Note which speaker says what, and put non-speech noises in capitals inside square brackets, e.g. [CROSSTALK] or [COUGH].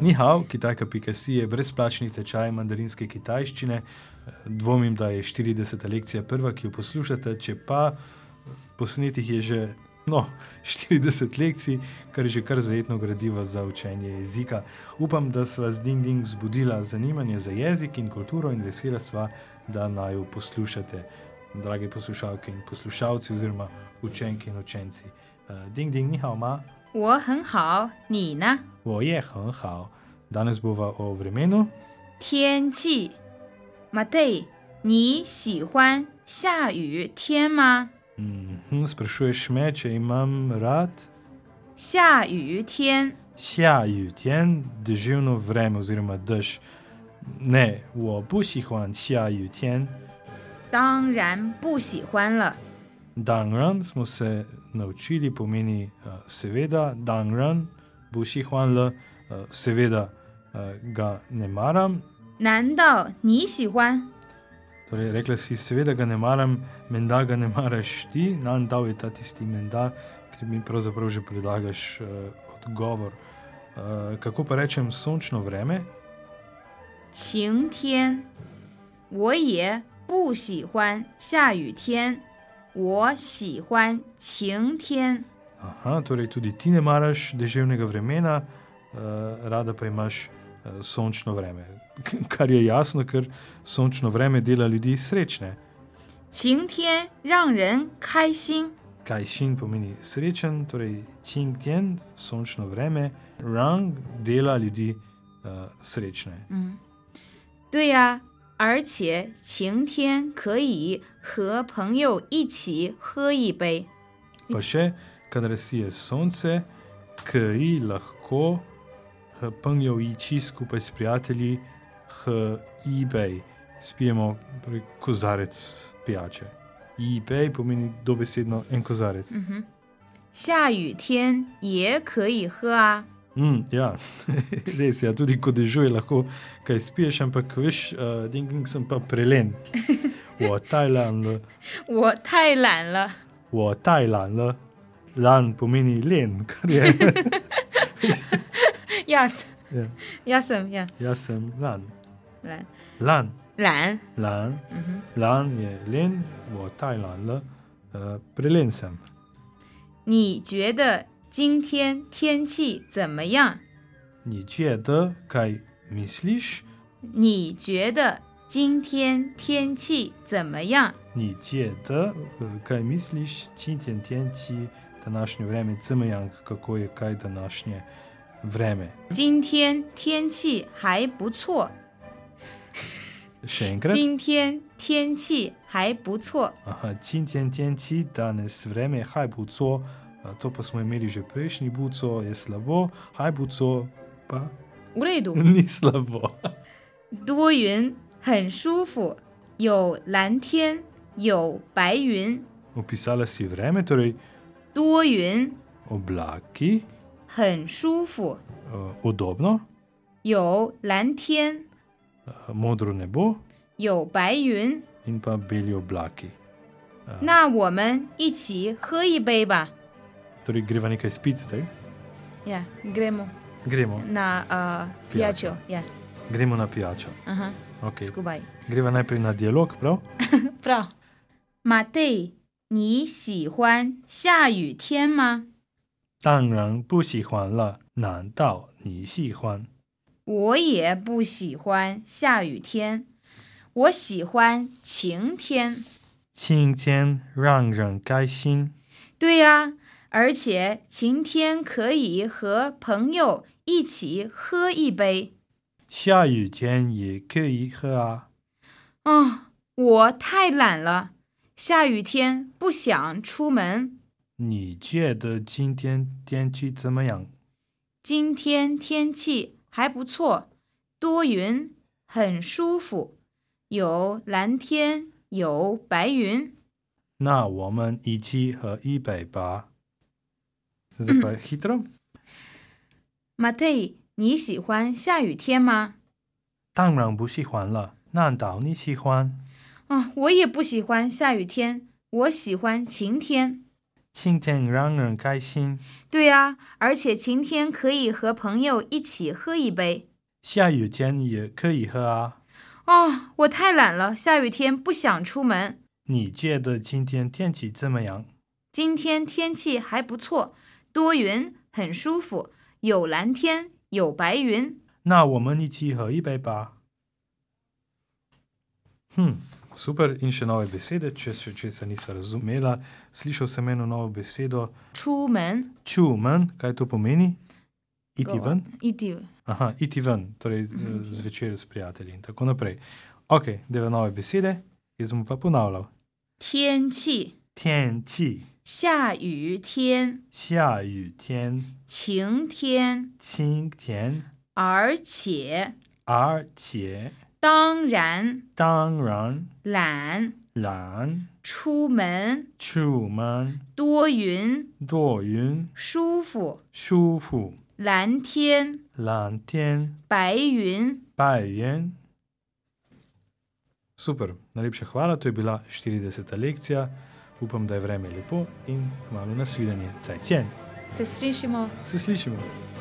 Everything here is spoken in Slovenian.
Speaker 1: Nihao, kitajka.si je brezplačni tečaj mandarinske kitajščine. Dvomim, da je 40. lekcija prva, ki jo poslušate, če pa posnetih je že no, [LAUGHS] 40 lekcij, kar je že kar zajetno gradivo za učenje jezika. Upam, da sva z Ding Ding zbudila zanimanje za jezik in kulturo in vesela sva, da naj jo poslušate, drage poslušalke in poslušalci, oziroma učenke in učenci. Uh, ding Ding, nihao ma.
Speaker 2: 我很好，你呢？
Speaker 1: 我也很好。Danes bova o vremenu,
Speaker 2: 天气 m a t e 你喜欢下雨天吗？
Speaker 1: mhm, sprašuješ me, če imam rad
Speaker 2: 下雨天
Speaker 1: sjaju tjen, deževno vreme oziroma dež. Ne, 我不喜欢下雨天。
Speaker 2: 当然不喜欢了。
Speaker 1: Dangran smo se naučili, pomeni uh, seveda, dangran, boš jih hvala, uh, seveda uh, ga ne maram.
Speaker 2: 难道你喜欢？
Speaker 1: Torej, rekla si, seveda ga ne maram, menda ga ne maraš ti, nam dal je ta tisti menda, ker mi pravzaprav že predlagaš uh, odgovor. Uh, kako pa rečem sončno vreme?
Speaker 2: 晴天，我也不喜欢下雨天，我喜欢晴天。
Speaker 1: Aha, torej tudi ti ne maraš deževnega vremena, eh, rada pa imaš eh, sončno vreme. [LAUGHS] Kar je jasno, ker sončno vreme dela ljudi srečne.
Speaker 2: 晴天让人开心，
Speaker 1: Kaj šin pomeni srečen, torej čing tjen, sončno vreme, rang dela ljudi eh, srečne.
Speaker 2: 嗯，对呀、而且晴天可以和朋友一起喝一杯。
Speaker 1: Pa še, kadar si je sonce, ki lahko h, penjo iči skupaj s prijatelji, h eBay, spijemo torej, kozarec pijače. eBay pomeni dobesedno en kozarec.
Speaker 2: 嗯哼，下雨天也可以喝啊。
Speaker 1: Mm, ja, [LAUGHS] res je, ja, tudi ko dežuje, lahko kaj spiješ, ampak veš, uh, ding, ding sem pa prelen. V Tajlandu,
Speaker 2: 我太懒了，
Speaker 1: v Tajlandu, lan pomeni len, kar je.
Speaker 2: 亚森
Speaker 1: ja,
Speaker 2: 亚森亚
Speaker 1: jaz sem lan,
Speaker 2: 懒
Speaker 1: lan,
Speaker 2: 懒，
Speaker 1: lan.
Speaker 2: 嗯哼，
Speaker 1: Lan je len, v Tajlandu, uh, prelen sem.
Speaker 2: 你觉得今天天气怎么样？
Speaker 1: Ni če da, kaj misliš,
Speaker 2: 你觉得今天天气怎么样？
Speaker 1: ni če da, eh, kaj misliš, čintjen tjenči, današnje vreme, cmejang, kako je kaj današnje vreme.
Speaker 2: 今天天气还不错，
Speaker 1: Še enkrat,
Speaker 2: 今天天气还不错。
Speaker 1: Aha, čintjen tjenči, danes vreme, haj buco, eh, to pa smo imeli že prejšnji buco, je slabo, haj buco pa [LAUGHS]
Speaker 2: 无累度
Speaker 1: ni slabo.
Speaker 2: 多云，很舒服，有蓝天，有白云。
Speaker 1: Opisala si vreme, torej
Speaker 2: 多云，
Speaker 1: oblaki,
Speaker 2: 很舒服，
Speaker 1: eh, udobno. eh,
Speaker 2: 有蓝天，
Speaker 1: modro nebo
Speaker 2: 有白云。
Speaker 1: in pa beli oblaki.
Speaker 2: 那我们一起喝一杯吧。
Speaker 1: Torej, greva nekaj spiti zdaj.
Speaker 2: Yeah, gremo
Speaker 1: Gremo,
Speaker 2: na uh,
Speaker 1: Pijačo.
Speaker 2: pijačo. Yeah,
Speaker 1: gremo na pijačo.
Speaker 2: aha,
Speaker 1: Okay.
Speaker 2: skupaj.
Speaker 1: Greva najprej na dialog, prav?
Speaker 2: Prav. Matej, 你喜欢下雨天吗？
Speaker 1: 当然不喜欢了，难道你喜欢？
Speaker 2: 我也不喜欢下雨天，我喜欢晴天。
Speaker 1: 晴天让人开心，
Speaker 2: 对呀、而且晴天可以和朋友一起喝一杯。
Speaker 1: 下雨天也可以喝啊。
Speaker 2: 啊、我太懒了，下雨天不想出门。
Speaker 1: 你觉得今天天气怎么样？
Speaker 2: 今天天气还不错，多云，很舒服，有蓝天，有白云。
Speaker 1: 那我们一起喝一杯吧。Zdaj pa hitro.
Speaker 2: 马蒂，你喜欢下雨天吗？
Speaker 1: 当然不喜欢了，难道你喜欢？
Speaker 2: 嗯啊、我也不喜欢下雨天，我喜欢晴天。
Speaker 1: 晴天让人开心，
Speaker 2: 对呀、而且晴天可以和朋友一起喝一杯。
Speaker 1: 下雨天也可以喝啊。
Speaker 2: 哦，我太懒了，下雨天不想出门。
Speaker 1: 你觉得今天天气怎么样？
Speaker 2: 今天天气还不错，多云，很舒服，有蓝天，有白云。
Speaker 1: 那我们一起喝一杯吧。Hm, super, in še nove besede, če še česa nisi razumela. Slišal sem eno novo besedo,
Speaker 2: 出门，
Speaker 1: čumen, kaj to pomeni? Iti ven?
Speaker 2: 一地
Speaker 1: Aha, iti ven, torej eh, zvečer s prijatelji in tako naprej. Ok, deve nove besede, jaz bom pa ponavljal.
Speaker 2: 天气，
Speaker 1: 天气，
Speaker 2: 下雨天，
Speaker 1: 下雨天，
Speaker 2: 晴天，
Speaker 1: 晴天，
Speaker 2: 而且，
Speaker 1: 而且
Speaker 2: 当然，
Speaker 1: 当然
Speaker 2: 懒，
Speaker 1: 懒，
Speaker 2: 出门，
Speaker 1: 出门
Speaker 2: 多云，
Speaker 1: 多云，
Speaker 2: 舒服，
Speaker 1: 舒服，
Speaker 2: 蓝天，
Speaker 1: 蓝天，
Speaker 2: 白云。
Speaker 1: 白云。Super, najlepša hvala, to je bila 40. lekcija. Upam, da je vreme lepo in kmalo nasvidenje. Cajtjen,
Speaker 2: Se slišimo.
Speaker 1: se slišimo.